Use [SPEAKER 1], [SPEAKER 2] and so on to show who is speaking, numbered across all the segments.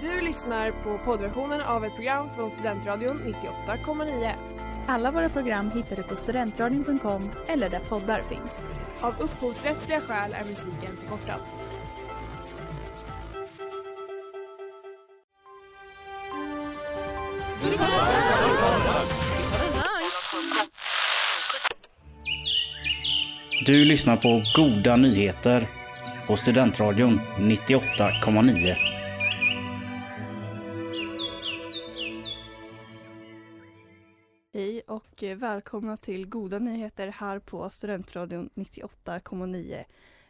[SPEAKER 1] Du lyssnar på poddversionen av ett program från Studentradion 98,9.
[SPEAKER 2] Alla våra program hittar du på studentradion.com eller där poddar finns.
[SPEAKER 1] Av upphovsrättsliga skäl är musiken förkortad.
[SPEAKER 3] Du lyssnar på Goda Nyheter på Studentradion 98,9.
[SPEAKER 4] Hej och eh, välkomna till Goda Nyheter här på Studentradion 98,9.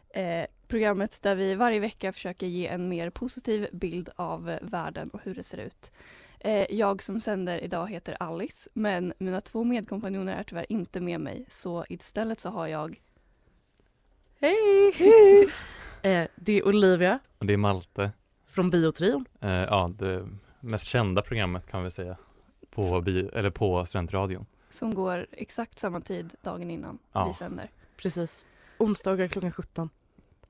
[SPEAKER 4] Eh, programmet där vi varje vecka försöker ge en mer positiv bild av eh, världen och hur det ser ut. Eh, jag som sänder idag heter Alice men mina två medkompanjoner är tyvärr inte med mig så istället så har jag
[SPEAKER 5] Hej! eh, det är Olivia
[SPEAKER 6] Och det är Malte.
[SPEAKER 5] från Biotrion.
[SPEAKER 6] Eh, ja, det mest kända programmet kan vi säga. På, bi- eller på studentradion.
[SPEAKER 4] som går exakt samma tid dagen innan
[SPEAKER 6] Ja.
[SPEAKER 4] vi sänder.
[SPEAKER 5] Precis. Onsdagar klockan 17.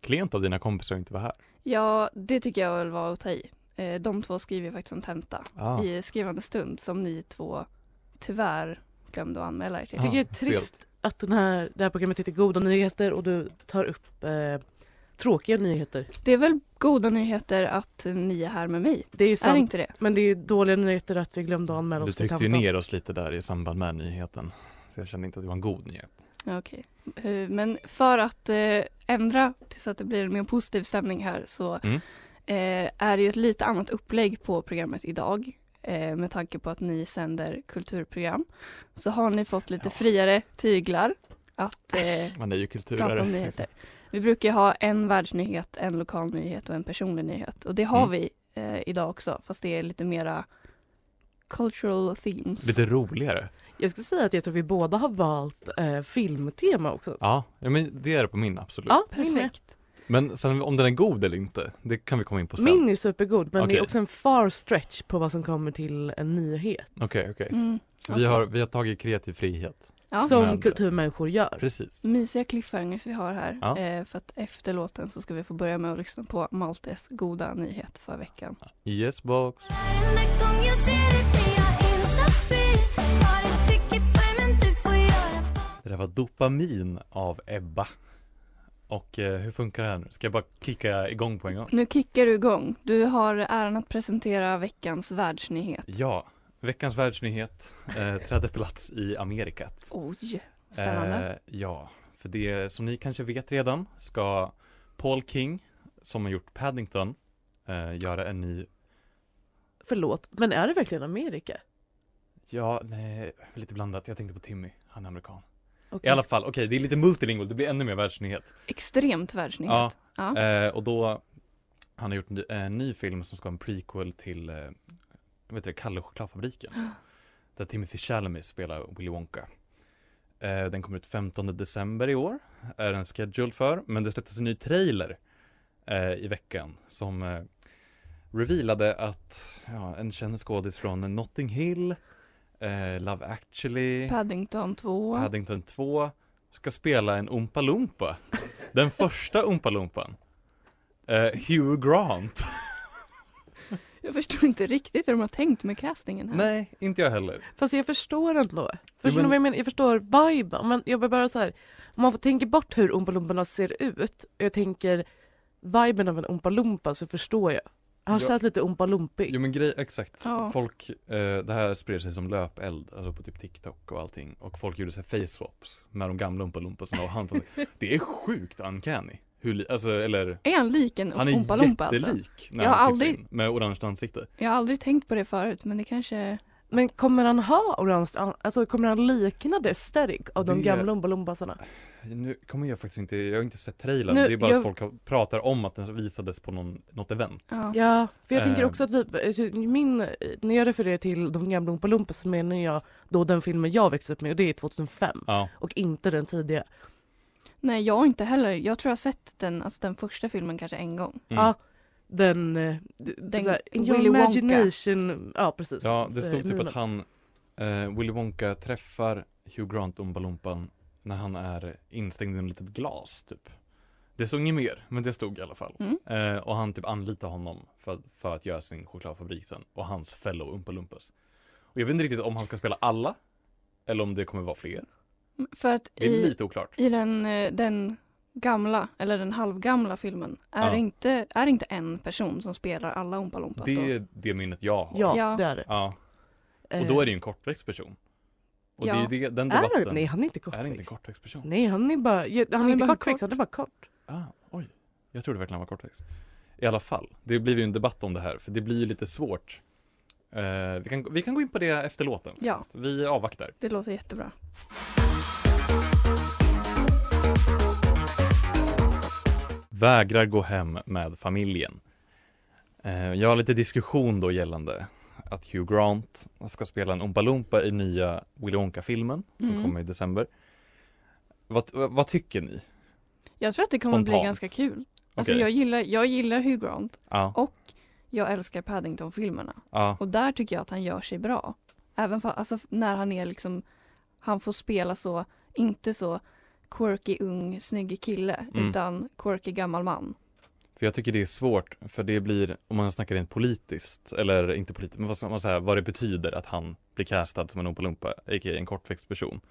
[SPEAKER 6] Klent av dina kompisar att inte vara här.
[SPEAKER 4] Ja, det tycker jag väl var att ta i. Eh, de två skriver ju faktiskt en tenta.
[SPEAKER 6] Ah,
[SPEAKER 4] i skrivande stund som ni två tyvärr glömde att anmäla er till.
[SPEAKER 5] Jag tycker
[SPEAKER 6] Ja,
[SPEAKER 5] det är trist att den här, det här programmet heter Goda Nyheter och du tar upp eh, tråkiga nyheter.
[SPEAKER 4] Det är väl goda nyheter att ni är här med mig?
[SPEAKER 5] Det är
[SPEAKER 4] Är
[SPEAKER 5] sant,
[SPEAKER 4] inte det?
[SPEAKER 5] men det är dåliga nyheter att vi glömde att anmäla
[SPEAKER 6] du
[SPEAKER 5] oss till
[SPEAKER 6] tryckte ju
[SPEAKER 5] Kantan.
[SPEAKER 6] ner oss lite där i samband med nyheten. Så jag kände inte att det var en god nyhet.
[SPEAKER 4] Ja, Okej. Eh, Men för att eh, ändra tills att det blir en mer positiv stämning här så
[SPEAKER 6] Mm.
[SPEAKER 4] eh, är det ju ett lite annat upplägg på programmet idag. Eh, med tanke på att ni sänder kulturprogram så har ni fått lite
[SPEAKER 6] Ja.
[SPEAKER 4] friare tyglar att eh,
[SPEAKER 6] Man är ju kulturare.
[SPEAKER 4] prata om nyheter. Vi brukar ju ha en världsnyhet, en lokal nyhet och en personlig nyhet. Och det har
[SPEAKER 6] Mm.
[SPEAKER 4] vi eh, idag också, fast det är lite mera cultural themes.
[SPEAKER 6] Lite roligare.
[SPEAKER 5] Jag skulle säga att jag tror vi båda har valt eh, filmtema också.
[SPEAKER 6] Ja, ja, men det är det på min absolut.
[SPEAKER 5] Ja, min med.
[SPEAKER 4] Perfekt.
[SPEAKER 6] Men sen om den är god eller inte, det kan vi komma in på sen.
[SPEAKER 5] Min är supergod men det
[SPEAKER 6] Okej.
[SPEAKER 5] är också en far stretch på vad som kommer till en nyhet.
[SPEAKER 6] Okej, okej.
[SPEAKER 4] Mm.
[SPEAKER 6] Vi,
[SPEAKER 4] Okej.
[SPEAKER 6] har, vi har tagit kreativ frihet.
[SPEAKER 4] Ja.
[SPEAKER 5] Som
[SPEAKER 6] Men-
[SPEAKER 5] kulturmänniskor gör.
[SPEAKER 6] Precis.
[SPEAKER 4] Mysiga cliffhangers vi har här.
[SPEAKER 6] Ja.
[SPEAKER 4] Eh, för att efter låten så ska vi få börja med att lyssna på Maltes goda nyhet för veckan.
[SPEAKER 6] Yes box.
[SPEAKER 7] Varenda gång jag ser dig blir jag instabil Har en prick i färg men du får göra vad
[SPEAKER 6] Det där var Dopamin av Ebba. Och eh, hur funkar det här nu? Ska jag bara kicka igång på en gång?
[SPEAKER 4] Nu kickar du igång. Du har äran att presentera veckans världsnyhet.
[SPEAKER 6] Ja, veckans världsnyhet eh, trädde plats i Amerikat.
[SPEAKER 4] Oj, spännande.
[SPEAKER 6] Eh, ja, för det som ni kanske vet redan ska Paul King, som har gjort Paddington, eh, göra en ny,
[SPEAKER 5] Förlåt, men är det verkligen Amerika?
[SPEAKER 6] ja, nej, lite blandat, jag tänkte på Timmy, han är amerikan. I
[SPEAKER 5] Okej.
[SPEAKER 6] alla fall, okej, det är lite multilingual, det blir ännu mer världsnyhet.
[SPEAKER 4] Extremt världsnyhet.
[SPEAKER 6] Ja.
[SPEAKER 4] Ja.
[SPEAKER 6] Eh, och då, han har gjort en ny, en ny film som ska vara en prequel till, eh, vad heter det, Kalle och chokladfabriken. Där Timothy Chalamet spelar Willy Wonka. Eh, den kommer ut 15 december i år, är den scheduled för, men det släpptes en ny trailer eh, i veckan som eh, revealade att ja, en känd skådis från Notting Hill, eh, Love actually,
[SPEAKER 4] Paddington 2.
[SPEAKER 6] Paddington 2 ska spela en Oompa Loompa. Den första Oompa Loompan. Eh, Hugh Grant.
[SPEAKER 4] Jag förstår inte riktigt hur de har tänkt med castingen här.
[SPEAKER 6] Nej, inte jag heller.
[SPEAKER 5] Fast jag förstår ändå. Förstår
[SPEAKER 6] men-
[SPEAKER 5] ni vad jag menar? Jag förstår viben. Men jag blir bara så här. Om man får tänka bort hur Oompa Loomporna ser ut och jag tänker viben av en Oompa Loompa så förstår jag. Han
[SPEAKER 6] Ja.
[SPEAKER 5] känns lite Oompa Loompig.
[SPEAKER 6] Jo men grej, exakt.
[SPEAKER 4] Ja.
[SPEAKER 6] Folk, eh, det här spred sig som löpeld, alltså på typ TikTok och allting. Och folk gjorde sig face-swaps med de gamla Oompa Loompasarna och han Det är sjukt uncanny. Hur li- alltså, eller,
[SPEAKER 4] Är han lik en
[SPEAKER 6] han är
[SPEAKER 4] Oompa Loompa alltså?
[SPEAKER 6] jättelik när
[SPEAKER 4] Jag
[SPEAKER 6] han
[SPEAKER 4] har
[SPEAKER 6] klipps
[SPEAKER 4] aldrig-
[SPEAKER 6] in, med orange ansikte.
[SPEAKER 4] Jag har aldrig tänkt på det förut men det kanske...
[SPEAKER 5] Men kommer han ha orange, an- alltså kommer han likna det aesthetic av de
[SPEAKER 6] Det-
[SPEAKER 5] gamla Oompa Loompasarna?
[SPEAKER 6] Nu kommer jag faktiskt inte, jag har inte sett trailern,
[SPEAKER 5] Nu,
[SPEAKER 6] det är bara
[SPEAKER 5] jag-
[SPEAKER 6] att folk har- pratar om att den visades på någon, något event.
[SPEAKER 4] Ja.
[SPEAKER 5] Ja, för jag tänker
[SPEAKER 6] Eh.
[SPEAKER 5] också att vi, alltså, min, när jag refererar till de gamla Oompa Loompas så menar jag då den filmen jag växte upp med och det är 2005
[SPEAKER 6] Ja.
[SPEAKER 5] och inte den tidiga.
[SPEAKER 4] Nej jag har inte heller. Jag tror jag har sett den, alltså den första filmen kanske en gång.
[SPEAKER 6] Mm.
[SPEAKER 5] Ja, den... eh, d-
[SPEAKER 4] Den
[SPEAKER 5] så här, in your
[SPEAKER 4] Willy Wonka.
[SPEAKER 5] imagination. Ja, precis.
[SPEAKER 6] Ja, det stod
[SPEAKER 5] Eh,
[SPEAKER 6] typ
[SPEAKER 5] minen.
[SPEAKER 6] att han, eh, Willy Wonka träffar Hugh Grant Oompa Loompan när han är instängd i en litet glas typ. Det stod inget mer, men det stod i alla fall.
[SPEAKER 4] Mm.
[SPEAKER 6] Eh, och han typ anlitade honom för, för att göra sin chokladfabrik sen. Och hans fellow Oompa Loompas. Och jag vet inte riktigt om han ska spela alla. Eller om det kommer vara fler.
[SPEAKER 4] För att
[SPEAKER 6] Det är
[SPEAKER 4] i,
[SPEAKER 6] lite oklart.
[SPEAKER 4] i den, eh, den gamla, eller den halvgamla filmen, är,
[SPEAKER 6] Ja.
[SPEAKER 4] inte, är inte en person som spelar alla Oompa Loompas
[SPEAKER 6] Det
[SPEAKER 4] då?
[SPEAKER 6] är det minnet jag har.
[SPEAKER 5] Ja,
[SPEAKER 4] Ja.
[SPEAKER 5] det är det.
[SPEAKER 6] Ja.
[SPEAKER 5] Eh,
[SPEAKER 6] Och då är det ju en kortväxt person. Och det är ju det, den
[SPEAKER 5] är
[SPEAKER 6] debatten.
[SPEAKER 5] det? Nej, han är inte kortväxt.
[SPEAKER 6] Är det inte en kortväxt person?
[SPEAKER 5] Nej, han är bara, ja, han, är inte
[SPEAKER 4] bara
[SPEAKER 5] kortväxt, han är bara kort.
[SPEAKER 6] Ah, oj. Jag trodde verkligen han var kortväxt. I alla fall, det blir ju en debatt om det här för det blir ju lite svårt. Eh, vi, kan, vi kan gå in på det efter låten.
[SPEAKER 4] Ja.
[SPEAKER 6] faktiskt. Vi avvaktar.
[SPEAKER 4] Det låter jättebra.
[SPEAKER 6] Vägrar gå hem med familjen. Eh, jag har lite diskussion då gällande att Hugh Grant ska spela en Oompa Loompa i nya Willy Wonka-filmen som
[SPEAKER 4] Mm.
[SPEAKER 6] kommer i december. Vad, vad tycker ni?
[SPEAKER 4] Jag tror att det kommer att
[SPEAKER 6] Spontant.
[SPEAKER 4] bli ganska kul. Alltså
[SPEAKER 6] Okej.
[SPEAKER 4] jag, gillar, jag gillar Hugh Grant,
[SPEAKER 6] Ja,
[SPEAKER 4] och- jag älskar Paddington-filmerna
[SPEAKER 6] ja.
[SPEAKER 4] och där tycker jag att han gör sig bra. Även fa- alltså, f- när han är liksom, han får spela så, inte så quirky ung snygg kille
[SPEAKER 6] Mm.
[SPEAKER 4] utan quirky gammal man.
[SPEAKER 6] För jag tycker det är svårt, för det blir, om man snackar rent politiskt, eller inte politiskt, men vad, ska man säga, vad det betyder att han blir castad som en Oompa Loompa, a.k.a. en kortväxt person,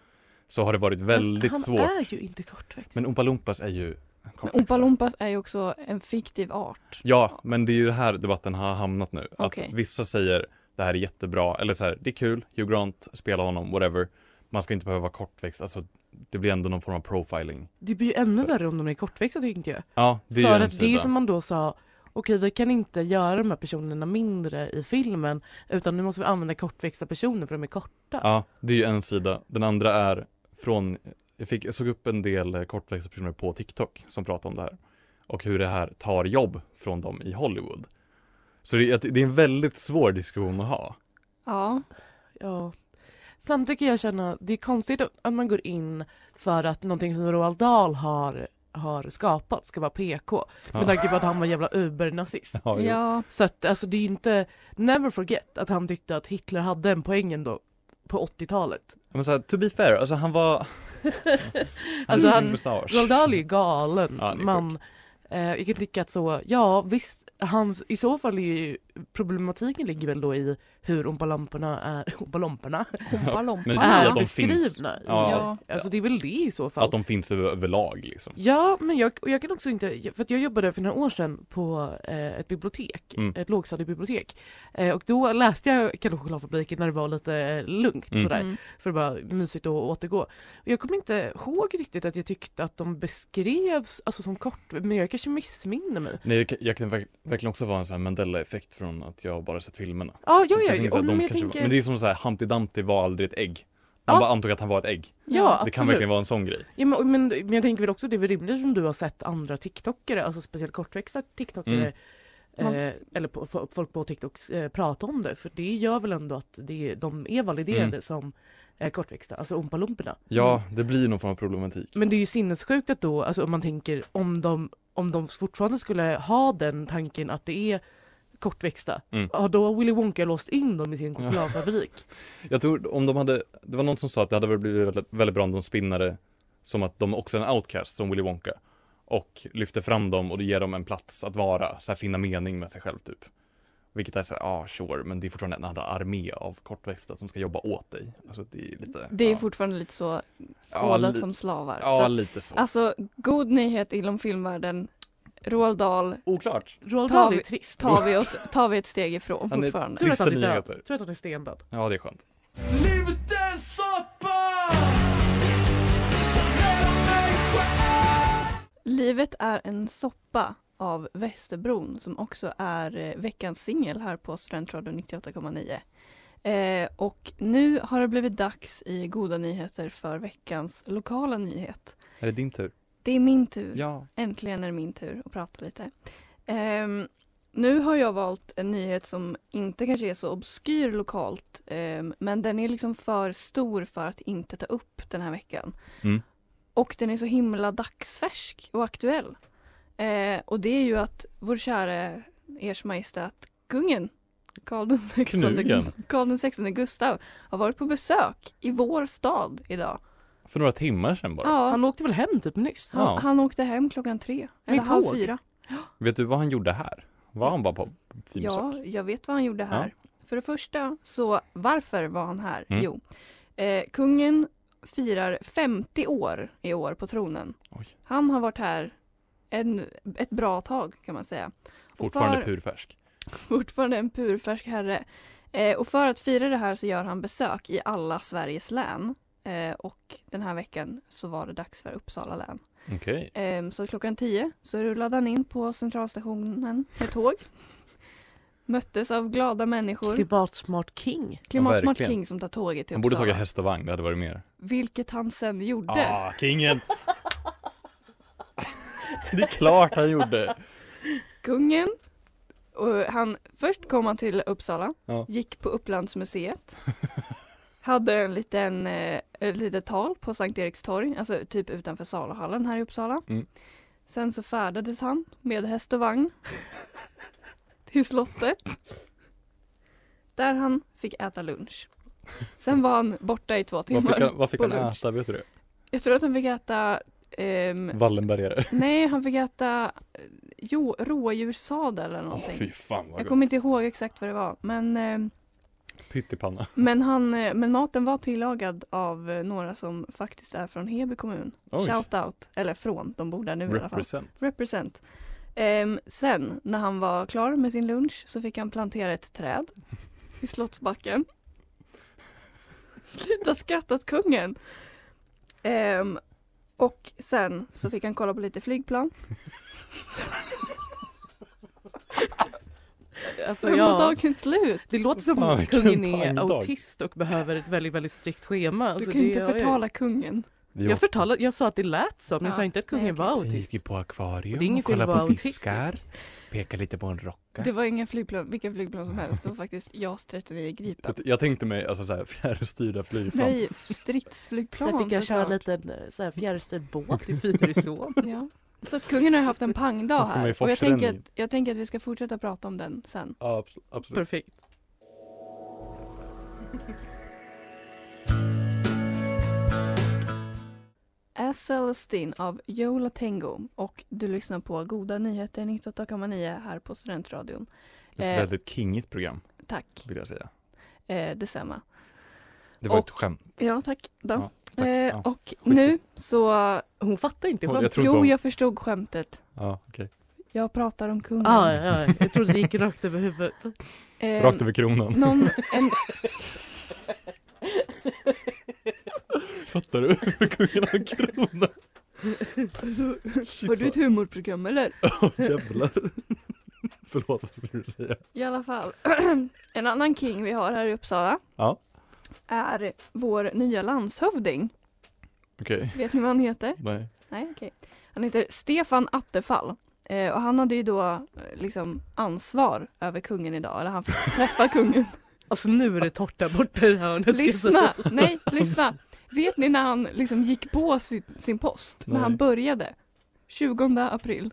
[SPEAKER 6] så har det varit väldigt
[SPEAKER 5] han
[SPEAKER 6] svårt.
[SPEAKER 5] är ju inte kortväxt.
[SPEAKER 6] Men Oompa Loompas är ju
[SPEAKER 4] Men
[SPEAKER 6] kortväxta.
[SPEAKER 4] Oompa Loompas är ju också en fiktiv art.
[SPEAKER 6] Ja, men det är ju det här debatten har hamnat nu.
[SPEAKER 4] Okej.
[SPEAKER 6] Att vissa säger det här är jättebra, eller så här, det är kul, Hugh Grant, spela honom, whatever. Man ska inte behöva vara kortväxt, alltså det blir ändå någon form av profiling.
[SPEAKER 5] Det blir ju ännu värre om de är kortväxta tänkte jag.
[SPEAKER 6] Ja, det är
[SPEAKER 5] För
[SPEAKER 6] ju en
[SPEAKER 5] att det är
[SPEAKER 6] sida.
[SPEAKER 5] som man då sa, okej vi kan inte göra de här personerna mindre i filmen utan nu måste vi använda kortväxta personer för de är korta.
[SPEAKER 6] Ja, det är ju en sida. Den andra är från, jag, fick, jag såg upp en del eh, kortväxta personer på TikTok som pratade om det här. Och hur det här tar jobb från dem i Hollywood. Så det, är- att det är en väldigt svår diskussion att ha.
[SPEAKER 4] Ja,
[SPEAKER 5] Ja. Samtidigt kan jag känna, det är konstigt att man går in för att någonting som Roald Dahl har, har skapat ska vara PK.
[SPEAKER 6] Ja.
[SPEAKER 5] Med tanke på att han var jävla ubernazist.
[SPEAKER 6] Ja, jo.
[SPEAKER 4] ja,
[SPEAKER 5] Så att alltså det är ju inte, never forget att han tyckte att Hitler hade en poäng ändå på 80-talet.
[SPEAKER 6] Men så här, to be fair, alltså han var...
[SPEAKER 5] Alltså,
[SPEAKER 6] är
[SPEAKER 5] han-
[SPEAKER 6] en mustasch.
[SPEAKER 5] Roald Dahl är ju galen.
[SPEAKER 6] Ja, han är
[SPEAKER 5] man, eh, jag kan tycka att så, ja visst, hans, i så fall är ju problematiken ligger väl då i hur ompalamporna är, ompalamporna
[SPEAKER 4] Oompa Loompa.
[SPEAKER 6] Men det är ju
[SPEAKER 5] är
[SPEAKER 6] att de finns.
[SPEAKER 5] beskrivna. i-
[SPEAKER 6] Ja.
[SPEAKER 4] Ja.
[SPEAKER 5] Alltså det är väl det i så fall.
[SPEAKER 6] Att de finns över, överlag liksom.
[SPEAKER 5] Ja, men jag, och jag kan också inte, för att jag jobbade för några år sedan på eh, ett bibliotek,
[SPEAKER 6] Mm.
[SPEAKER 5] ett lågstadiebibliotek. Eh, och då läste jag Kalle och chokladfabriken när det var lite eh, lugnt
[SPEAKER 6] Mm.
[SPEAKER 5] sådär,
[SPEAKER 4] Mm.
[SPEAKER 5] för det var mysigt att återgå. Och jag kommer inte ihåg riktigt att jag tyckte att de beskrevs alltså, som kort, men jag kanske missminner mig.
[SPEAKER 6] Nej, jag kan- jag kan verk- verkligen också vara en sån här Mandela-effekt från att jag bara sett filmerna.
[SPEAKER 5] Ja, ja,
[SPEAKER 6] Jag
[SPEAKER 5] ja,
[SPEAKER 6] tänker så
[SPEAKER 5] ja
[SPEAKER 6] här, de
[SPEAKER 5] men jag
[SPEAKER 6] kanske var-
[SPEAKER 5] tänker,
[SPEAKER 6] men det är som så här, Humpty Dumpty var aldrig ett ägg. Han
[SPEAKER 5] Ja.
[SPEAKER 6] bara antog att han var ett ägg.
[SPEAKER 5] ja,
[SPEAKER 6] Det
[SPEAKER 5] absolut.
[SPEAKER 6] kan verkligen vara en sån grej.
[SPEAKER 5] Ja, men, men, men jag tänker väl också det är väl rimligt som du har sett andra TikTokare, alltså speciellt kortväxta TikTokare,
[SPEAKER 4] Mm.
[SPEAKER 5] eh, eller på, fo- folk på TikTok eh, prata om det. För det gör väl ändå att det, de är validerade
[SPEAKER 6] Mm.
[SPEAKER 5] som eh, kortväxta, alltså ompalumperna.
[SPEAKER 6] Ja,
[SPEAKER 4] Mm.
[SPEAKER 6] det blir någon form av problematik.
[SPEAKER 5] Men det är ju sinnessjukt att då, alltså om man tänker om de, om de fortfarande skulle ha den tanken att det är kortväxta,
[SPEAKER 6] Mm.
[SPEAKER 5] ja då har Willy Wonka låst in dem i sin chokladfabrik.
[SPEAKER 6] Jag tror om de hade, det var någon som sa att det hade väl blivit väldigt, väldigt bra om de spinnade som att de också är en outcast som Willy Wonka och lyfter fram dem och det ger dem en plats att vara, så här, finna mening med sig själv typ. Vilket är så här, ah, sure, men det är fortfarande en annan armé av kortväxta som ska jobba åt dig. Alltså det är lite...
[SPEAKER 4] det är
[SPEAKER 6] ja.
[SPEAKER 4] fortfarande lite så
[SPEAKER 6] ja,
[SPEAKER 4] kodat
[SPEAKER 6] li-
[SPEAKER 4] som slavar. så
[SPEAKER 6] Ja,
[SPEAKER 4] att,
[SPEAKER 6] lite så.
[SPEAKER 4] alltså, god nyhet inom filmvärlden, Roald Dahl
[SPEAKER 6] Oklart.
[SPEAKER 5] Roald
[SPEAKER 4] Tar
[SPEAKER 5] Dahl är
[SPEAKER 4] vi-
[SPEAKER 5] trist.
[SPEAKER 4] tar vi, oss, tar vi ett steg ifrån
[SPEAKER 6] Han är-
[SPEAKER 4] fortfarande.
[SPEAKER 5] Tur att han är
[SPEAKER 6] Trista
[SPEAKER 5] död.
[SPEAKER 6] nyheter.
[SPEAKER 5] Tur att han är stendöd.
[SPEAKER 6] Ja, det är skönt.
[SPEAKER 8] Livet är en soppa!
[SPEAKER 4] Livet är en soppa av Västerbron som också är eh, veckans singel här på Studentradion 98,9. Eh, och nu har det blivit dags i Goda nyheter för veckans lokala nyhet.
[SPEAKER 6] Är det din tur?
[SPEAKER 4] Det är min tur.
[SPEAKER 6] Ja.
[SPEAKER 4] Äntligen är det min tur att prata lite. Ehm, nu har jag valt en nyhet som inte kanske är så obskyr lokalt ehm, men den är liksom för stor för att inte ta upp den här veckan.
[SPEAKER 6] Mm.
[SPEAKER 4] Och den är så himla dagsfärsk och aktuell. Eh, och det är ju att vår käre Ers Majestät kungen Karl den 16,
[SPEAKER 6] Knugen.
[SPEAKER 4] Karl den 16 Gustav har varit på besök i vår stad idag.
[SPEAKER 6] För några timmar sedan bara.
[SPEAKER 4] Ja, han,
[SPEAKER 5] Han åkte väl hem typ nyss?
[SPEAKER 6] Ja.
[SPEAKER 4] han åkte hem klockan tre. Eller halv
[SPEAKER 5] tåg.
[SPEAKER 4] fyra.
[SPEAKER 6] Vet du vad han gjorde här? Var han bara på fin
[SPEAKER 4] Ja,
[SPEAKER 6] besök?
[SPEAKER 4] jag vet vad han gjorde här. För det första, så varför var han här?
[SPEAKER 6] Mm.
[SPEAKER 4] Jo, eh, kungen firar 50 år i år på tronen.
[SPEAKER 6] Oj.
[SPEAKER 4] Han har varit här en, ett bra tag kan man säga. Och
[SPEAKER 6] Fortfarande
[SPEAKER 4] för-
[SPEAKER 6] purfärsk.
[SPEAKER 4] fortfarande en purfärsk herre. Eh, och för att fira det här så gör han besök i alla Sveriges län. Eh, och den här veckan så var det dags för Uppsala län.
[SPEAKER 6] Okej.
[SPEAKER 4] Ehm, så klockan 10 så rullade han in på centralstationen med tåg. Möttes av glada människor.
[SPEAKER 5] Klimatsmart king.
[SPEAKER 4] Klimatsmart
[SPEAKER 6] verkligen.
[SPEAKER 4] King som tar tåget till
[SPEAKER 6] Han borde
[SPEAKER 4] Uppsala.
[SPEAKER 6] tagit häst och vagn, det hade varit mer.
[SPEAKER 4] Vilket han sen gjorde.
[SPEAKER 6] Ah, kingen! det är klart han gjorde.
[SPEAKER 4] Kungen. Och han, först kom han till Uppsala,
[SPEAKER 6] Ja.
[SPEAKER 4] gick på Upplandsmuseet, hade en liten, eh, ett litet tal på Sankt Erikstorg, alltså typ utanför saluhallen här i Uppsala.
[SPEAKER 6] Mm.
[SPEAKER 4] Sen så färdades han med häst och vagn till slottet, där han fick äta lunch. Sen var han borta i två
[SPEAKER 6] Vad fick
[SPEAKER 4] timmar.
[SPEAKER 6] han, vad fick
[SPEAKER 4] på
[SPEAKER 6] han
[SPEAKER 4] lunch.
[SPEAKER 6] äta, vet du det?
[SPEAKER 4] Jag tror att han fick äta ehm,
[SPEAKER 6] Wallenbergare.
[SPEAKER 4] Nej, han fick äta eh, jo, rådjurssadel eller
[SPEAKER 6] Åh
[SPEAKER 4] någonting.
[SPEAKER 6] fy fan vad
[SPEAKER 4] jag
[SPEAKER 6] gott.
[SPEAKER 4] kommer inte ihåg exakt vad det var, men, eh,
[SPEAKER 6] Pyttipanna.
[SPEAKER 4] men, han, eh, men maten var tillagad av eh, några som faktiskt är från Heby kommun.
[SPEAKER 6] Oj.
[SPEAKER 4] Shout out, eller från, de bor där nu i alla fall.
[SPEAKER 6] Represent.
[SPEAKER 4] Represent. Ehm, sen när han var klar med sin lunch så fick han plantera ett träd i Slottsbacken. Sluta skratta åt kungen! Ehm, och sen så fick han kolla på lite flygplan.
[SPEAKER 5] Alltså,
[SPEAKER 4] Sen var
[SPEAKER 5] ja,
[SPEAKER 4] dagen slut!
[SPEAKER 5] det låter som
[SPEAKER 6] Fan,
[SPEAKER 5] att
[SPEAKER 6] vilken
[SPEAKER 5] kungen är
[SPEAKER 6] pangdag.
[SPEAKER 5] autist och behöver ett väldigt, väldigt strikt schema.
[SPEAKER 4] Du
[SPEAKER 5] Alltså,
[SPEAKER 4] kan
[SPEAKER 5] det
[SPEAKER 4] inte
[SPEAKER 5] gör jag ju.
[SPEAKER 4] förtala kungen.
[SPEAKER 6] Vi
[SPEAKER 5] Jag, förtalade, jag sa att det lät som, men jag
[SPEAKER 4] Ja,
[SPEAKER 5] sa inte att kungen
[SPEAKER 4] nej, okej.
[SPEAKER 5] var
[SPEAKER 6] Sen
[SPEAKER 5] autist.
[SPEAKER 6] gick vi på akvarium
[SPEAKER 5] Det är ingen
[SPEAKER 6] och kollade
[SPEAKER 5] fel att
[SPEAKER 6] på
[SPEAKER 5] vara
[SPEAKER 6] fiskar. Peka lite på en rocka.
[SPEAKER 4] Det var inga flygplan, vilka flygplan som helst, det var faktiskt JAS 39 Gripen.
[SPEAKER 6] Jag- Jag tänkte mig alltså så här fjärrstyrda flygplan.
[SPEAKER 4] Nej, stridsflygplan
[SPEAKER 5] Sen fick jag köra
[SPEAKER 4] såklart.
[SPEAKER 5] en liten eh, så här fjärrstyrd båt i Fyrisån.
[SPEAKER 4] Ja. Så att kungen har ju haft en pangdag
[SPEAKER 6] Han ska med i
[SPEAKER 4] här och jag tänker,
[SPEAKER 6] forsränning.
[SPEAKER 4] att, jag tänker att vi ska fortsätta prata om den sen.
[SPEAKER 6] Ja, abs- absolut.
[SPEAKER 5] Perfekt.
[SPEAKER 4] S. Celestine av Yola Tengo och du lyssnar på Goda Nyheter 98,9 här på Studentradion.
[SPEAKER 6] Ett
[SPEAKER 4] Eh.
[SPEAKER 6] väldigt kingigt program
[SPEAKER 4] Tack,
[SPEAKER 6] vill jag säga.
[SPEAKER 4] eh, detsamma.
[SPEAKER 6] Det var
[SPEAKER 4] Och-
[SPEAKER 6] ett skämt.
[SPEAKER 4] Ja, tack då.
[SPEAKER 6] Ja, Tack.
[SPEAKER 4] eh,
[SPEAKER 6] Ja.
[SPEAKER 4] och nu så,
[SPEAKER 5] Hon fattar inte
[SPEAKER 6] Oj,
[SPEAKER 5] skämt.
[SPEAKER 6] jag tror inte
[SPEAKER 4] jo
[SPEAKER 6] hon-
[SPEAKER 4] jag förstod skämtet.
[SPEAKER 6] Ja, okej.
[SPEAKER 4] Jag pratar om kungen.
[SPEAKER 5] Ah, ja, ja, jag trodde det gick rakt över huvudet.
[SPEAKER 4] Eh,
[SPEAKER 6] Rakt över kronan.
[SPEAKER 4] Någon, en,
[SPEAKER 6] Fattar du? Kungen har en krona. Shit,
[SPEAKER 4] har du ett
[SPEAKER 6] vad-
[SPEAKER 4] humorprogram eller?
[SPEAKER 6] Åh, jävlar. Förlåt, vad skulle du säga?
[SPEAKER 4] I alla fall, en annan king vi har här i Uppsala
[SPEAKER 6] Ja.
[SPEAKER 4] är vår nya landshövding.
[SPEAKER 6] Okej.
[SPEAKER 4] Vet ni vad han heter?
[SPEAKER 6] Nej.
[SPEAKER 4] Nej, okej. Han heter Stefan Attefall. Eh, och han hade ju då eh, liksom ansvar över kungen idag, eller han fick träffa kungen.
[SPEAKER 5] Alltså nu är det torrt där borta i hörnet. ska jag
[SPEAKER 4] lyssna!
[SPEAKER 5] säga.
[SPEAKER 4] Nej, lyssna! Vet ni när han liksom gick på sin, sin post?
[SPEAKER 6] Nej.
[SPEAKER 4] När han började? 20 april.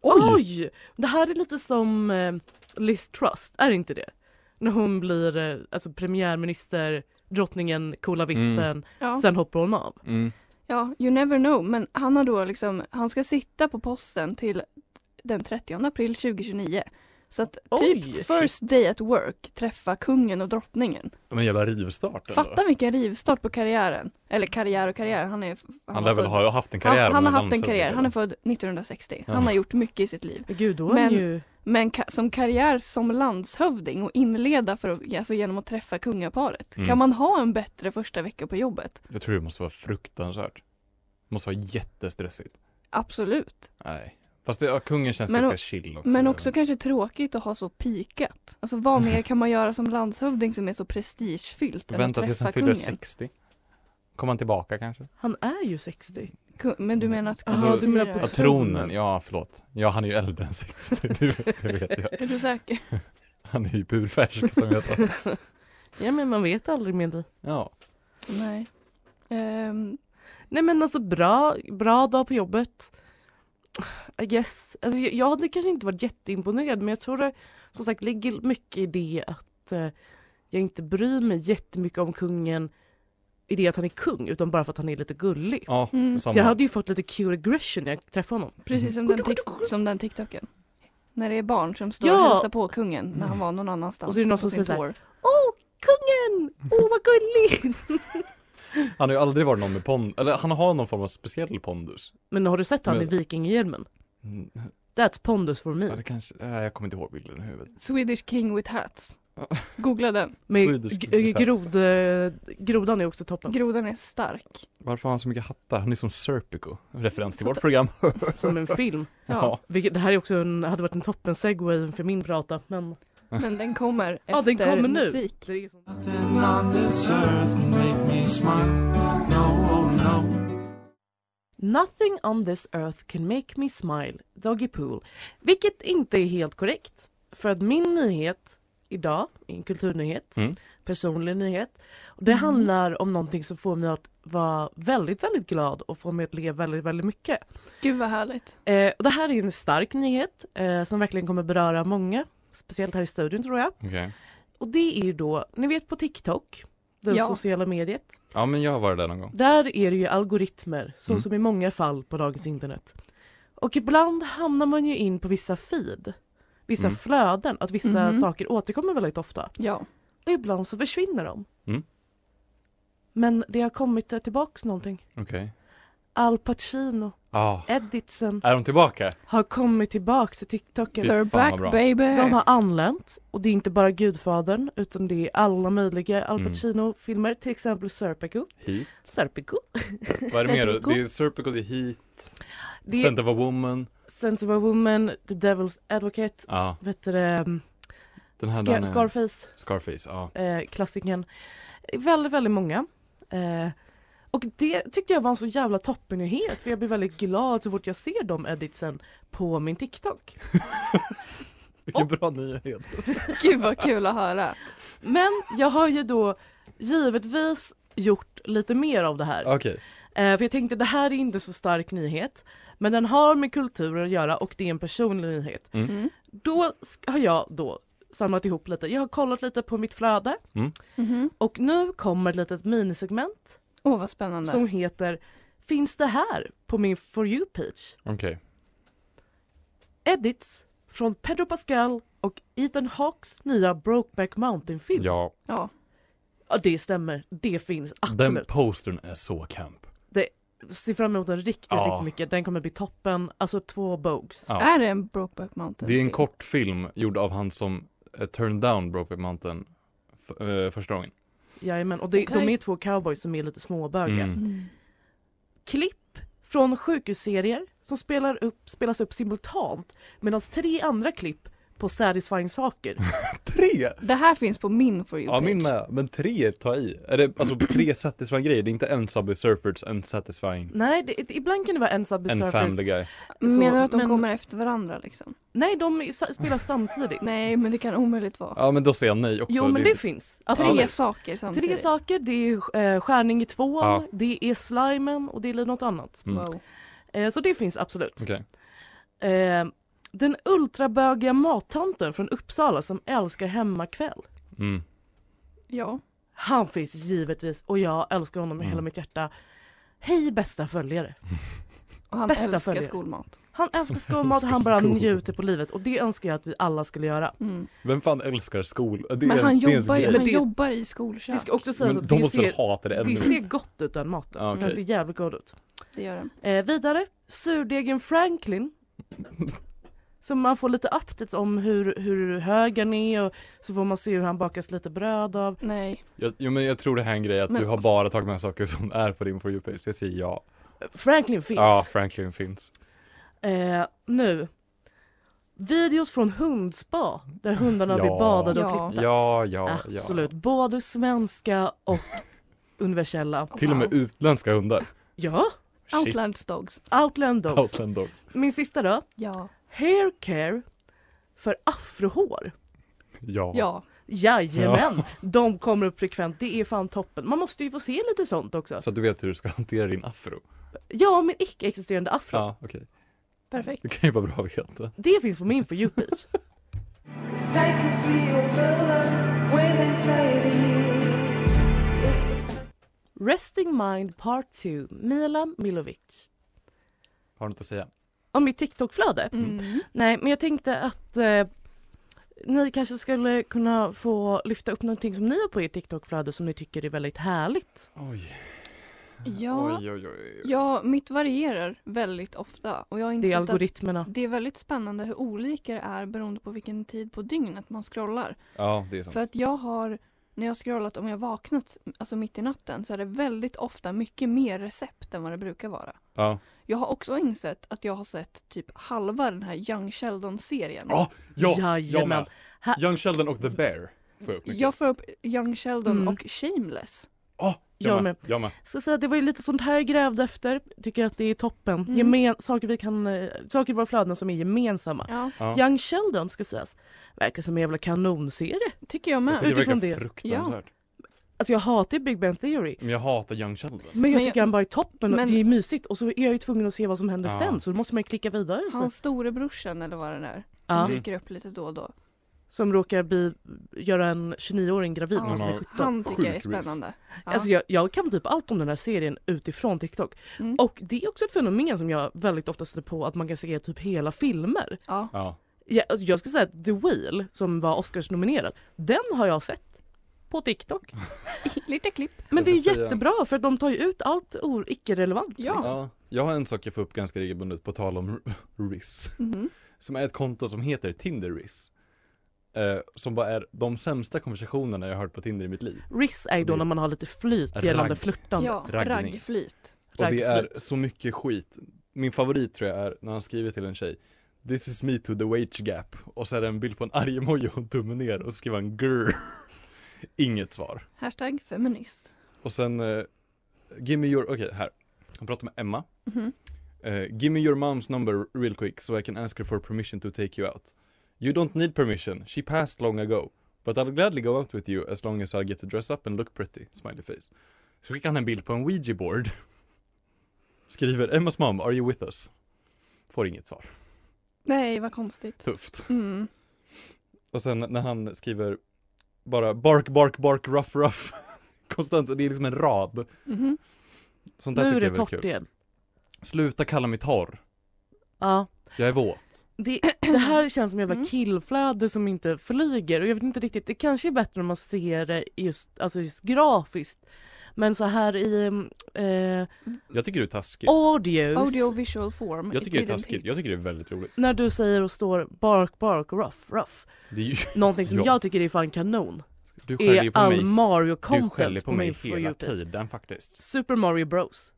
[SPEAKER 5] Oj! Det här är lite som eh, Liz Trust, är det inte det? När hon blir eh, alltså, premiärminister, drottningen, coola vippen,
[SPEAKER 4] Ja.
[SPEAKER 5] sen hoppar hon av.
[SPEAKER 6] Mm.
[SPEAKER 4] ja, you never know. Men han har då liksom, han ska sitta på posten till den 30 april 2029. Så att typ
[SPEAKER 5] Oj,
[SPEAKER 4] first day at work träffa kungen och drottningen.
[SPEAKER 6] Men jävla rivstart ändå.
[SPEAKER 4] Fatta vilken rivstart på karriären. Eller karriär och karriär, han är... Han,
[SPEAKER 6] Han
[SPEAKER 4] var
[SPEAKER 6] lär väl
[SPEAKER 4] född-
[SPEAKER 6] ha haft en karriär.
[SPEAKER 4] han, han har
[SPEAKER 6] med
[SPEAKER 4] haft en karriär,
[SPEAKER 6] landshövding,
[SPEAKER 4] han är född 1960.
[SPEAKER 6] Ja.
[SPEAKER 4] Han har gjort mycket i sitt liv.
[SPEAKER 5] Gud, då är
[SPEAKER 4] Men-
[SPEAKER 5] hon ju...
[SPEAKER 4] Men ka- som karriär som landshövding och inleda för att, alltså genom att träffa kungaparet.
[SPEAKER 6] Mm.
[SPEAKER 4] Kan man ha en bättre första vecka på jobbet?
[SPEAKER 6] Jag tror det måste vara fruktansvärt. Det måste vara jättestressigt.
[SPEAKER 4] Absolut.
[SPEAKER 6] Nej. Fast det, ja, kungen känns
[SPEAKER 4] Men
[SPEAKER 6] ganska
[SPEAKER 4] o-
[SPEAKER 6] chill också.
[SPEAKER 5] Mm.
[SPEAKER 4] Men också kanske tråkigt att ha så pikat. Alltså vad mer kan man göra som landshövding som är så prestigefyllt än
[SPEAKER 6] Vänta
[SPEAKER 4] att
[SPEAKER 6] tills
[SPEAKER 4] träffa
[SPEAKER 6] han fyller
[SPEAKER 4] kungen?
[SPEAKER 6] 60. Kommer han tillbaka kanske?
[SPEAKER 5] Han är ju 60.
[SPEAKER 4] Kung- Men
[SPEAKER 5] Mm.
[SPEAKER 4] du menar att
[SPEAKER 6] Alltså,
[SPEAKER 4] kungen
[SPEAKER 6] du
[SPEAKER 5] menar på
[SPEAKER 6] Ja,
[SPEAKER 4] firar?
[SPEAKER 6] tronen. Ja, förlåt. Ja, han är ju äldre än 60. Det vet, det vet jag.
[SPEAKER 4] Är du säker?
[SPEAKER 6] Han är ju purfärsk som jag sa.
[SPEAKER 5] Ja men man vet aldrig med dig.
[SPEAKER 6] Ja.
[SPEAKER 4] Nej. Ehm,
[SPEAKER 5] Nej men alltså bra, bra dag på jobbet. I guess. Alltså, jag, jag hade kanske inte varit jätteimponerad men jag tror det som sagt ligger mycket i det att eh, jag inte bryr mig jättemycket om kungen i det att han är kung utan bara för att han är lite gullig.
[SPEAKER 6] Ja,
[SPEAKER 4] Mm.
[SPEAKER 5] Så jag
[SPEAKER 6] samma.
[SPEAKER 5] hade ju fått lite cute aggression när jag träffade honom.
[SPEAKER 4] Precis som den, tik- som den TikToken. När det är barn som står
[SPEAKER 5] Ja. Mm.
[SPEAKER 4] och hälsar på kungen när han var någon annanstans
[SPEAKER 5] Och så är det någon som
[SPEAKER 4] på sin
[SPEAKER 5] säger så här,
[SPEAKER 4] tour.
[SPEAKER 5] Åh, kungen! Åh, vad gullig!
[SPEAKER 6] Han har ju aldrig varit någon med pond, eller han har någon form av speciell pondus.
[SPEAKER 5] Men har du sett han i
[SPEAKER 6] Men-
[SPEAKER 5] vikingahjälmen?
[SPEAKER 6] Mm.
[SPEAKER 5] That's pondus for
[SPEAKER 6] Ja,
[SPEAKER 5] me.
[SPEAKER 6] det kanske, nej, jag kommer inte ihåg bilden i huvudet.
[SPEAKER 4] Swedish king with hats.
[SPEAKER 6] Ja.
[SPEAKER 4] Googla den.
[SPEAKER 5] Men
[SPEAKER 6] Swedish
[SPEAKER 5] g-
[SPEAKER 6] effect.
[SPEAKER 5] grod, eh, grodan är också toppen.
[SPEAKER 4] Grodan är stark.
[SPEAKER 6] Varför har han så mycket hattar? Han är som Serpico. Referens till vårt program.
[SPEAKER 5] Som en film.
[SPEAKER 6] Ja.
[SPEAKER 5] Vilket, det här är också en, hade varit en toppen segway för min prata. Men
[SPEAKER 4] Men den kommer efter
[SPEAKER 5] Ja, den kommer nu.
[SPEAKER 4] musik.
[SPEAKER 5] det är så-
[SPEAKER 8] Nothing on this earth can make me smart. No, oh no.
[SPEAKER 5] Nothing on this earth can make me smile, Doggy Pool. Vilket inte är helt korrekt. För att min nyhet idag är en kulturnyhet,
[SPEAKER 6] Mm.
[SPEAKER 5] personlig nyhet. Och det handlar om någonting som får mig att vara väldigt, väldigt glad och får mig att le väldigt, väldigt mycket.
[SPEAKER 4] Gud vad härligt.
[SPEAKER 5] Eh, och det här är en stark nyhet eh, som verkligen kommer beröra många, speciellt här i studion tror jag.
[SPEAKER 6] Okej.
[SPEAKER 5] Och det är ju då, ni vet på TikTok, det
[SPEAKER 4] Ja.
[SPEAKER 5] sociala mediet.
[SPEAKER 6] Ja, men jag har varit där någon gång.
[SPEAKER 5] Där är det ju algoritmer, så
[SPEAKER 6] Mm.
[SPEAKER 5] som i många fall på dagens internet. Och ibland hamnar man ju in på vissa feed, vissa
[SPEAKER 6] Mm.
[SPEAKER 5] flöden, att vissa
[SPEAKER 4] Mhm.
[SPEAKER 5] saker återkommer väldigt ofta.
[SPEAKER 4] Ja.
[SPEAKER 5] Och ibland så försvinner de.
[SPEAKER 6] Mm.
[SPEAKER 5] Men det har kommit eh, tillbaks någonting.
[SPEAKER 6] Okej.
[SPEAKER 5] Al Pacino,
[SPEAKER 6] Ah,
[SPEAKER 5] Editsen,
[SPEAKER 6] är de tillbaka?
[SPEAKER 5] har kommit tillbaks till TikToken.
[SPEAKER 6] Fy fan,
[SPEAKER 4] They're
[SPEAKER 6] vad
[SPEAKER 4] back
[SPEAKER 6] bra.
[SPEAKER 4] baby.
[SPEAKER 5] De har anlänt och det är inte bara Gudfadern utan det är alla möjliga Al
[SPEAKER 6] Mm.
[SPEAKER 5] Pacino-filmer, till exempel Serpico.
[SPEAKER 6] Heat.
[SPEAKER 5] Serpico.
[SPEAKER 6] Vad är det mer?
[SPEAKER 5] Serpico.
[SPEAKER 6] då? Det är Serpico, det är Heat,
[SPEAKER 5] Det är
[SPEAKER 6] Scent of a Woman.
[SPEAKER 5] Sense of a Woman, The Devil's Advocate,
[SPEAKER 6] Ja, ah,
[SPEAKER 5] vet du det,
[SPEAKER 6] den här
[SPEAKER 5] Scar-
[SPEAKER 6] den är-
[SPEAKER 5] Scarface,
[SPEAKER 6] Scarface, ja.
[SPEAKER 5] eh, klassikern. Väldigt, väldigt många. Eh, och det tyckte jag var en så jävla toppennyhet för jag blir väldigt glad så fort jag ser de editsen på min TikTok.
[SPEAKER 6] Vilken bra nyhet.
[SPEAKER 4] Gud vad kul att höra.
[SPEAKER 5] Men jag har ju då givetvis gjort lite mer av det här.
[SPEAKER 6] Okej.
[SPEAKER 5] Eh, för jag tänkte det här är inte så stark nyhet men den har med kultur att göra och det är en personlig nyhet.
[SPEAKER 6] Mm.
[SPEAKER 4] Mm.
[SPEAKER 5] Då sk- har jag då samlat ihop lite, jag har kollat lite på mitt flöde
[SPEAKER 4] Mhm.
[SPEAKER 5] och nu kommer ett litet minisegment
[SPEAKER 4] Åh vad spännande.
[SPEAKER 5] som heter Finns det här på min For you page?
[SPEAKER 6] Okej.
[SPEAKER 5] Edits från Pedro Pascal och Ethan Hawkes nya Brokeback Mountain-film. Ja.
[SPEAKER 6] Ja,
[SPEAKER 4] Ja.
[SPEAKER 5] det stämmer, det finns
[SPEAKER 6] den
[SPEAKER 5] absolut.
[SPEAKER 6] postern är så camp.
[SPEAKER 5] Se fram emot den riktigt,
[SPEAKER 6] Ja.
[SPEAKER 5] riktigt mycket. Den kommer bli toppen, alltså två bogues.
[SPEAKER 6] Ja.
[SPEAKER 4] Är det en Brokeback Mountain?
[SPEAKER 6] Det är en kort film gjord av han som eh, turned down Brokeback Mountain f- eh, första gången.
[SPEAKER 5] Jajamän, och det,
[SPEAKER 4] Okej.
[SPEAKER 5] de är två cowboys som är lite småbögiga.
[SPEAKER 6] Mm.
[SPEAKER 5] Klipp från sjukhusserier som spelar upp, spelas upp simultant medan tre andra klipp på satisfying saker.
[SPEAKER 6] Tre?
[SPEAKER 4] Det här finns på min For You-page.
[SPEAKER 6] Ja min med, men tre ta i. Är det alltså tre satisfying grejer? Det är inte en Subway Surfers, en satisfying,
[SPEAKER 5] Nej, det, ibland kan det vara en
[SPEAKER 6] en Family
[SPEAKER 5] subsurface.
[SPEAKER 6] Guy.
[SPEAKER 4] Menar du
[SPEAKER 5] Så,
[SPEAKER 4] att de
[SPEAKER 5] men-
[SPEAKER 4] kommer efter varandra liksom?
[SPEAKER 5] Nej, de är- sa- spelar samtidigt.
[SPEAKER 4] Nej men det kan omöjligt vara.
[SPEAKER 6] Ja men då säger jag nej också.
[SPEAKER 5] Jo, men
[SPEAKER 6] Det-
[SPEAKER 5] det finns.
[SPEAKER 4] Tre
[SPEAKER 5] Absolut.
[SPEAKER 4] saker samtidigt.
[SPEAKER 5] Tre saker, det är eh, Skärning i tvåan,
[SPEAKER 6] Ja.
[SPEAKER 5] det är Slimen och det är något annat.
[SPEAKER 6] Mm. Mm.
[SPEAKER 4] Wow.
[SPEAKER 5] Eh, så det finns absolut.
[SPEAKER 6] Okej.
[SPEAKER 5] Eh, den ultrabögiga mattanten från Uppsala som älskar hemmakväll.
[SPEAKER 6] Mm.
[SPEAKER 4] Ja.
[SPEAKER 5] Han finns givetvis och jag älskar honom med
[SPEAKER 6] Mm.
[SPEAKER 5] hela mitt hjärta. Hej bästa följare.
[SPEAKER 4] Och han
[SPEAKER 5] Bästa
[SPEAKER 4] älskar
[SPEAKER 5] följare.
[SPEAKER 4] skolmat.
[SPEAKER 5] Han älskar skolmat och han bara
[SPEAKER 6] Skolmat.
[SPEAKER 5] njuter på livet och det önskar jag att vi alla skulle göra.
[SPEAKER 4] Mm.
[SPEAKER 6] Vem fan älskar skol? Det är
[SPEAKER 4] Men
[SPEAKER 6] en-
[SPEAKER 4] han,
[SPEAKER 6] det är ens
[SPEAKER 4] jobbar, ju-
[SPEAKER 6] grej.
[SPEAKER 4] han
[SPEAKER 5] det-
[SPEAKER 4] jobbar i skolkök.
[SPEAKER 5] Det ska också sägas
[SPEAKER 6] Men
[SPEAKER 5] att
[SPEAKER 6] de
[SPEAKER 5] det
[SPEAKER 6] måste
[SPEAKER 5] ser,
[SPEAKER 6] väl hata det ännu
[SPEAKER 5] det ser alltså- gott ut den maten.
[SPEAKER 6] Ja, okej.
[SPEAKER 5] Den ser jävligt god ut.
[SPEAKER 4] Det gör han.
[SPEAKER 5] Eh, vidare, surdegen Franklin. Så man får lite updates om hur, hur hög han är och så får man se hur han bakas lite bröd av.
[SPEAKER 4] Nej.
[SPEAKER 6] Jag, jo men jag tror det här är en grej att
[SPEAKER 4] Men-
[SPEAKER 6] du har bara tagit med saker som är på din For You-page. Jag säger ja.
[SPEAKER 5] Franklin finns.
[SPEAKER 6] Ja, Franklin finns.
[SPEAKER 5] Eh, nu. Videos från hundspa där hundarna
[SPEAKER 6] Ja.
[SPEAKER 5] blir badade och
[SPEAKER 4] Ja.
[SPEAKER 5] klippta.
[SPEAKER 6] Ja, ja,
[SPEAKER 5] Absolut, både svenska och universella.
[SPEAKER 6] ja. Till och med
[SPEAKER 4] Wow.
[SPEAKER 6] utländska hundar.
[SPEAKER 5] Ja,
[SPEAKER 6] Shit.
[SPEAKER 4] Outlands Dogs.
[SPEAKER 5] Outland Dogs.
[SPEAKER 6] Outland dogs.
[SPEAKER 5] Min sista då,
[SPEAKER 4] Ja.
[SPEAKER 5] Hair Care för afrohår.
[SPEAKER 6] Ja.
[SPEAKER 4] Ja.
[SPEAKER 5] Jajamän, de kommer upp frekvent, det är fan toppen. Man måste ju få se lite sånt också.
[SPEAKER 6] Så att du vet hur du ska hantera din afro.
[SPEAKER 5] Ja, min icke-existerande afro.
[SPEAKER 6] Ja, okej.
[SPEAKER 4] Perfekt.
[SPEAKER 6] Det kan ju vara bra att veta.
[SPEAKER 5] Det finns på min för you page.
[SPEAKER 9] Cause I can see you fill up with anxiety. It's
[SPEAKER 5] Resting Mind Part 2, Mila Milovic.
[SPEAKER 6] Har du något att säga?
[SPEAKER 5] Om mitt TikTok-flöde?
[SPEAKER 2] Mm.
[SPEAKER 5] Nej, men jag tänkte att eh, ni kanske skulle kunna få lyfta upp någonting som ni har på ert TikTok-flöde som ni tycker är väldigt härligt.
[SPEAKER 6] Oj.
[SPEAKER 4] Ja,
[SPEAKER 6] Oj, oj, oj, oj.
[SPEAKER 4] ja, mitt varierar väldigt ofta och jag har
[SPEAKER 5] Det är
[SPEAKER 4] insett att
[SPEAKER 5] algoritmerna.
[SPEAKER 4] det är väldigt spännande hur olika det är beroende på vilken tid på dygnet man scrollar.
[SPEAKER 6] Ja, det är sant.
[SPEAKER 4] För att jag har, när jag har scrollat om jag vaknat alltså mitt i natten så är det väldigt ofta mycket mer recept än vad det brukar vara.
[SPEAKER 6] Ja.
[SPEAKER 4] Jag har också insett att jag har sett typ halva den här Young Sheldon-serien.
[SPEAKER 6] Ja, ja, jag
[SPEAKER 5] Jajamän.
[SPEAKER 6] med.
[SPEAKER 5] Ha-
[SPEAKER 6] Young Sheldon och The Bear. Får jag upp mycket.
[SPEAKER 4] Jag får upp Young Sheldon
[SPEAKER 5] Mm.
[SPEAKER 4] och Shameless.
[SPEAKER 6] Ah, jag,
[SPEAKER 5] Jag
[SPEAKER 6] med.
[SPEAKER 5] med.
[SPEAKER 6] Jag med.
[SPEAKER 5] Ska säga att det var ju lite sånt här jag grävde efter. Tycker att det är toppen.
[SPEAKER 4] Mm.
[SPEAKER 5] Gemen- saker, vi kan, eh, saker i våra flöden som är gemensamma.
[SPEAKER 4] Ja,
[SPEAKER 6] Ja.
[SPEAKER 5] Young Sheldon ska sägas. Verkar som en jävla kanonserie.
[SPEAKER 4] tycker jag med.
[SPEAKER 6] jag tycker det
[SPEAKER 5] utifrån
[SPEAKER 6] verkar
[SPEAKER 5] det.
[SPEAKER 6] fruktansvärt.
[SPEAKER 5] Alltså jag hatar ju Big Bang Theory.
[SPEAKER 6] Men jag hatar Young Sheldon.
[SPEAKER 5] Men jag
[SPEAKER 4] Men jag-
[SPEAKER 5] tycker han bara är toppen och
[SPEAKER 4] men-
[SPEAKER 5] det är mysigt. Och så är jag ju tvungen att se vad som händer
[SPEAKER 6] Ja.
[SPEAKER 5] sen. Så då måste man ju klicka vidare. Så.
[SPEAKER 4] Hans storebrorsan eller vad den är. Som
[SPEAKER 5] Ja.
[SPEAKER 4] dyker upp lite då och då.
[SPEAKER 5] Som råkar bli, göra en 29-åring gravid
[SPEAKER 4] Ja.
[SPEAKER 5] fast hon är 17.
[SPEAKER 4] Han tycker jag är
[SPEAKER 6] Sjukt vis.
[SPEAKER 4] spännande. Ja.
[SPEAKER 5] Alltså jag, jag kan typ allt om den här serien utifrån TikTok.
[SPEAKER 4] Mm.
[SPEAKER 5] Och det är också ett fenomen som jag väldigt ofta stöter på att man kan se typ hela filmer.
[SPEAKER 4] ja.
[SPEAKER 6] Ja.
[SPEAKER 5] Jag, alltså, jag ska säga att The Whale som var Oscars-nominerad, den har jag sett på TikTok.
[SPEAKER 4] Lite klipp.
[SPEAKER 5] Men det är
[SPEAKER 6] Jag ska säga-
[SPEAKER 5] jättebra för att de tar ju ut allt or- icke-relevant.
[SPEAKER 4] Ja.
[SPEAKER 6] ja. Jag har en sak jag får upp ganska regelbundet på tal om Riz.
[SPEAKER 4] Mhm.
[SPEAKER 6] Som är ett konto som heter Tinder Riz. Eh, som bara är de sämsta konversationerna jag har hört på Tinder i mitt liv.
[SPEAKER 5] Riss är ju då när man har lite flyt
[SPEAKER 6] Ragg.
[SPEAKER 5] gällande flörtande.
[SPEAKER 4] Ja,
[SPEAKER 6] Raggning.
[SPEAKER 4] raggflyt.
[SPEAKER 6] Och det är
[SPEAKER 5] Raggflyt.
[SPEAKER 6] så mycket skit. Min favorit tror jag är när han skriver till en tjej This is me to the wage gap och så är det en bild på en arg emoji och tummen ner och så skriver han grr. Inget svar.
[SPEAKER 4] Hashtag feminist.
[SPEAKER 6] Och sen eh, Give me your, okej här. Han pratar med Emma.
[SPEAKER 4] Mhm.
[SPEAKER 6] Eh, give me your mom's number real quick so I can ask her for permission to take you out. You don't need permission, she passed long ago. But I'll gladly go out with you as long as I get to dress up and look pretty, smiley face. Så skickar han en bild på en Ouija board. Skriver Emmas mom, are you with us? Får inget svar.
[SPEAKER 4] Nej, vad konstigt.
[SPEAKER 6] Tufft.
[SPEAKER 4] Mm.
[SPEAKER 6] Och sen när han skriver bara bark, bark, bark, rough, rough. Konstant, det är liksom en rad.
[SPEAKER 4] Mhm.
[SPEAKER 6] Sånt där
[SPEAKER 5] Nu är
[SPEAKER 6] tycker
[SPEAKER 5] det
[SPEAKER 6] jag är
[SPEAKER 5] torrt
[SPEAKER 6] väldigt kul.
[SPEAKER 5] igen.
[SPEAKER 6] Sluta kalla mig torr.
[SPEAKER 5] Ja.
[SPEAKER 6] Jag är våt.
[SPEAKER 5] Det, det här känns som jävla
[SPEAKER 4] Mm.
[SPEAKER 5] killflöde som inte flyger och jag vet inte riktigt, det kanske är bättre om man ser det just, alltså just grafiskt. Men så här i um, eh,
[SPEAKER 6] Jag tycker du är taskig.
[SPEAKER 5] audios,
[SPEAKER 4] Audio visual form.
[SPEAKER 6] Jag
[SPEAKER 4] it
[SPEAKER 6] tycker det är
[SPEAKER 4] didn't
[SPEAKER 6] taskigt,
[SPEAKER 4] hit.
[SPEAKER 6] jag tycker det är väldigt roligt.
[SPEAKER 5] när du säger och står bark bark rough rough,
[SPEAKER 6] Det är ju,
[SPEAKER 5] någonting som
[SPEAKER 6] Ja.
[SPEAKER 5] jag tycker är fan kanon,
[SPEAKER 6] du skäller
[SPEAKER 5] är
[SPEAKER 6] ju på
[SPEAKER 5] all
[SPEAKER 6] mig,
[SPEAKER 5] Mario
[SPEAKER 6] du skäller
[SPEAKER 5] content
[SPEAKER 6] på mig
[SPEAKER 5] For
[SPEAKER 6] hela
[SPEAKER 5] You Page.
[SPEAKER 6] tiden faktiskt.
[SPEAKER 5] Super Mario Bros.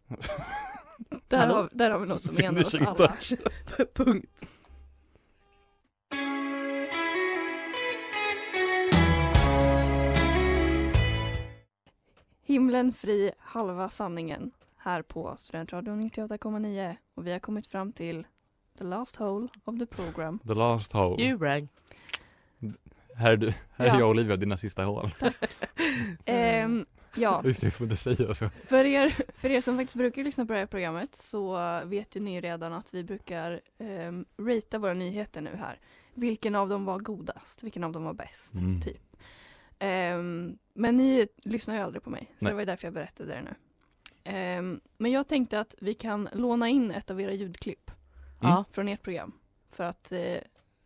[SPEAKER 4] Där
[SPEAKER 5] Hallå?
[SPEAKER 4] har, där har vi något som enar oss
[SPEAKER 6] Finishing
[SPEAKER 4] alla.
[SPEAKER 6] touch.
[SPEAKER 5] Punkt.
[SPEAKER 4] Himlen fri, halva sanningen. Här på Studentradion 98,9. Och vi har kommit fram till the last hole of the program.
[SPEAKER 6] The last hole.
[SPEAKER 5] You rang.
[SPEAKER 6] Här är, du, här är
[SPEAKER 4] Ja.
[SPEAKER 6] jag och Olivia, dina sista hål. Mm.
[SPEAKER 4] Ehm, ja,
[SPEAKER 6] Just det, jag får inte säga så. Mm.
[SPEAKER 4] För er, för er som faktiskt brukar lyssna på det här programmet så vet ju ni redan att vi brukar um, ratea våra nyheter nu här. Vilken av dem var godast? Vilken av dem var bäst?
[SPEAKER 6] Mm.
[SPEAKER 4] Typ. Ehm, men ni lyssnar ju aldrig på mig, så
[SPEAKER 6] Nej.
[SPEAKER 4] det var ju därför jag berättade det nu. Ehm, men jag tänkte att vi kan låna in ett av era ljudklipp
[SPEAKER 6] Mm.
[SPEAKER 5] Ja.
[SPEAKER 4] från ert program för att eh,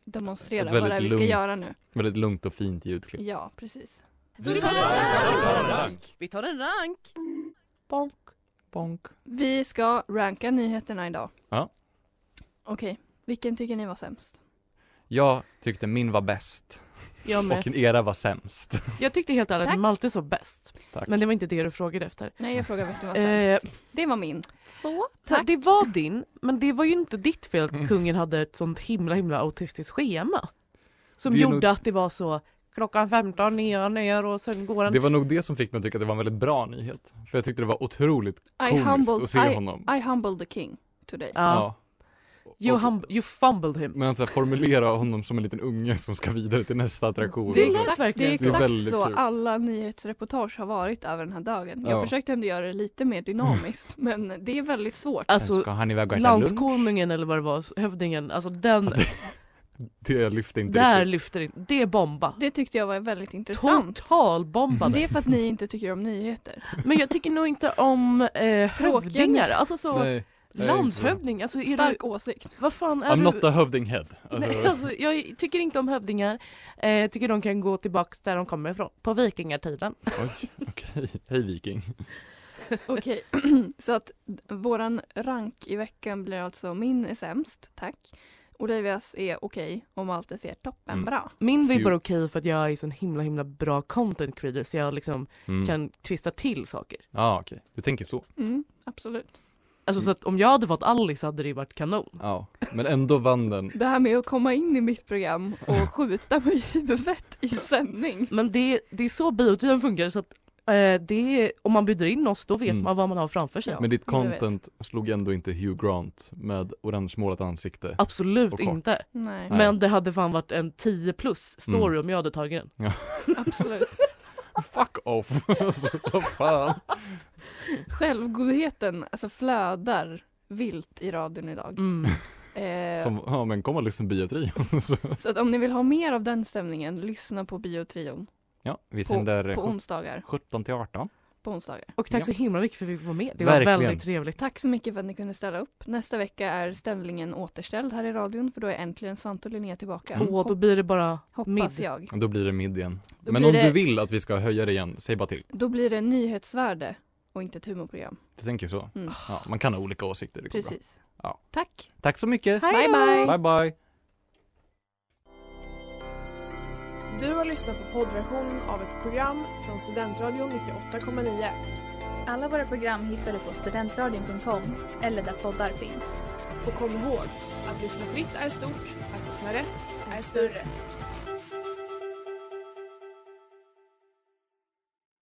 [SPEAKER 4] demonstrera
[SPEAKER 6] Ett
[SPEAKER 4] vad det
[SPEAKER 6] väldigt
[SPEAKER 4] är vi ska
[SPEAKER 6] lugnt-
[SPEAKER 4] göra nu.
[SPEAKER 6] Väldigt lugnt och fint ljudklipp.
[SPEAKER 4] Ja, precis.
[SPEAKER 5] Vi tar en rank. Bonk.
[SPEAKER 6] Bonk.
[SPEAKER 4] Vi ska ranka nyheterna idag.
[SPEAKER 6] Ja.
[SPEAKER 4] Okej, vilken tycker ni var sämst?
[SPEAKER 6] Jag tyckte min var bäst
[SPEAKER 5] Jag med.
[SPEAKER 6] och era var sämst.
[SPEAKER 5] Jag tyckte helt ärligt
[SPEAKER 4] Tack.
[SPEAKER 5] att Malte var bäst.
[SPEAKER 6] Tack.
[SPEAKER 5] Men det var inte det du frågade efter.
[SPEAKER 4] Nej, jag frågar vilken var
[SPEAKER 5] Eh,
[SPEAKER 4] sämst. Det var min. Så,
[SPEAKER 5] Så här,
[SPEAKER 4] tack.
[SPEAKER 5] det var din, men det var ju inte ditt fel
[SPEAKER 6] Mm.
[SPEAKER 5] att kungen hade ett sånt himla himla autistiskt schema. Som
[SPEAKER 6] Det är
[SPEAKER 5] gjorde
[SPEAKER 6] nog-
[SPEAKER 5] att det var så klockan 15 ner, ner och sen går han.
[SPEAKER 6] Det var nog det som fick mig att tycka att det var en väldigt bra nyhet. För jag tyckte det var otroligt
[SPEAKER 4] I,
[SPEAKER 6] komiskt att
[SPEAKER 4] humbled,
[SPEAKER 6] se
[SPEAKER 4] I,
[SPEAKER 6] honom.
[SPEAKER 4] I humbled the king today.
[SPEAKER 5] Ja. You,
[SPEAKER 6] Och-
[SPEAKER 5] hum- you fumbled him.
[SPEAKER 6] Men alltså formulera honom som en liten unge som ska vidare till nästa attraktion.
[SPEAKER 5] Det är
[SPEAKER 6] Och så-
[SPEAKER 5] lät
[SPEAKER 4] det
[SPEAKER 5] verkligen
[SPEAKER 4] är
[SPEAKER 6] så. Det är
[SPEAKER 4] exakt
[SPEAKER 6] väldigt
[SPEAKER 4] så
[SPEAKER 6] kul.
[SPEAKER 4] alla nyhetsreportage har varit över den här dagen. Jag
[SPEAKER 6] Ja. Mm.
[SPEAKER 4] försökte ändå göra det lite mer dynamiskt, men det är väldigt svårt.
[SPEAKER 5] Alltså
[SPEAKER 6] ska han iväg och äta lunch?
[SPEAKER 5] landskonungen eller vad det var, hövdingen, alltså den
[SPEAKER 6] Det lyfte inte
[SPEAKER 5] Där
[SPEAKER 6] riktigt.
[SPEAKER 5] lyfter det. Det är bomba.
[SPEAKER 4] Det tyckte jag var väldigt intressant.
[SPEAKER 5] Totalbombade.
[SPEAKER 6] Mm.
[SPEAKER 4] Det är för att ni inte tycker om nyheter.
[SPEAKER 5] Men jag tycker nog inte om eh,
[SPEAKER 4] Tråkiga
[SPEAKER 5] hövdingar. Alltså så,
[SPEAKER 6] Nej. nej,
[SPEAKER 5] landshövding. Alltså är
[SPEAKER 4] Stark åsikt.
[SPEAKER 5] du, vad fan är
[SPEAKER 6] Eh, I'm
[SPEAKER 5] du?
[SPEAKER 6] not a hövding head. Alltså,
[SPEAKER 5] Nej, alltså, jag tycker inte om hövdingar. Eh, tycker de kan gå tillbaka där de kommer ifrån. På vikingatiden.
[SPEAKER 6] Oj, okej. Hej viking.
[SPEAKER 4] Okej, så att d- våran rank i veckan blir alltså min är sämst, tack. Olivias är okej om allt är ser toppen bra.
[SPEAKER 5] Min
[SPEAKER 6] Hur-
[SPEAKER 5] vibbar okej för att jag är sån himla himla bra content creator så jag liksom
[SPEAKER 6] Mm.
[SPEAKER 5] kan twista till saker.
[SPEAKER 6] Ja, okej. Du tänker så.
[SPEAKER 4] Mm, absolut.
[SPEAKER 6] Mm.
[SPEAKER 5] Alltså så att om jag hade fått Alice hade det ju varit kanon.
[SPEAKER 6] Ja. Men ändå vann den.
[SPEAKER 4] Det här med att komma in i mitt program och skjuta mig i huvudet i sändning.
[SPEAKER 5] Men det, det är så biotypen funkar så att eh, det är, om man bjuder in oss då vet
[SPEAKER 6] Mm.
[SPEAKER 5] man vad man har framför sig.
[SPEAKER 4] Ja.
[SPEAKER 6] Men ditt
[SPEAKER 4] jag vet.
[SPEAKER 6] content slog ändå inte Hugh Grant med orangemålat ansikte.
[SPEAKER 5] Absolut
[SPEAKER 6] Och kort.
[SPEAKER 5] inte.
[SPEAKER 4] Nej,
[SPEAKER 6] Nej. Mm.
[SPEAKER 5] Men det hade fan varit en 10 plus story om jag hade tagit den.
[SPEAKER 4] absolut.
[SPEAKER 6] Fuck off! alltså, vad fan.
[SPEAKER 4] Självgodheten alltså flödar vilt i radion idag.
[SPEAKER 5] Mm.
[SPEAKER 4] Eh,
[SPEAKER 6] Som, ja men liksom kom och lyssna på biotrion. så.
[SPEAKER 4] Så att om ni vill ha mer av den stämningen, lyssna på biotrion
[SPEAKER 6] Ja, vi
[SPEAKER 4] på,
[SPEAKER 6] sänder
[SPEAKER 4] på
[SPEAKER 6] sjut-
[SPEAKER 4] onsdagar.
[SPEAKER 6] 17 till 18.
[SPEAKER 4] På onsdagar.
[SPEAKER 5] Och tack
[SPEAKER 6] Ja.
[SPEAKER 5] så himla mycket för att vi fick vara med. Det
[SPEAKER 6] Verkligen.
[SPEAKER 5] var väldigt trevligt.
[SPEAKER 4] Tack så mycket för att ni kunde ställa upp. Nästa vecka är ställningen återställd här i radion för då är äntligen Svante och Linnea tillbaka.
[SPEAKER 5] Mm.
[SPEAKER 6] Mm.
[SPEAKER 5] Åh, då blir det bara
[SPEAKER 4] Hop- hoppas
[SPEAKER 5] mid.
[SPEAKER 4] jag.
[SPEAKER 6] Då blir det mid igen.
[SPEAKER 4] Då
[SPEAKER 6] men
[SPEAKER 4] blir
[SPEAKER 6] om
[SPEAKER 4] det-
[SPEAKER 6] du vill att vi ska höja det igen, säg bara till.
[SPEAKER 4] Då blir det nyhetsvärde och inte ett humorprogram.
[SPEAKER 6] Du tänker så?
[SPEAKER 4] Mm.
[SPEAKER 6] Ja, man kan ha olika åsikter, det går bra.
[SPEAKER 4] Precis.
[SPEAKER 6] Ja.
[SPEAKER 4] Tack.
[SPEAKER 6] Tack så mycket!
[SPEAKER 4] Bye bye.
[SPEAKER 6] Bye bye!
[SPEAKER 1] Du har lyssnat på poddversionen av ett program från Studentradion 98,9.
[SPEAKER 2] Alla våra program hittar du på studentradion.com eller där poddar finns.
[SPEAKER 1] Och kom ihåg, att lyssna fritt är stort, att lyssna rätt är större.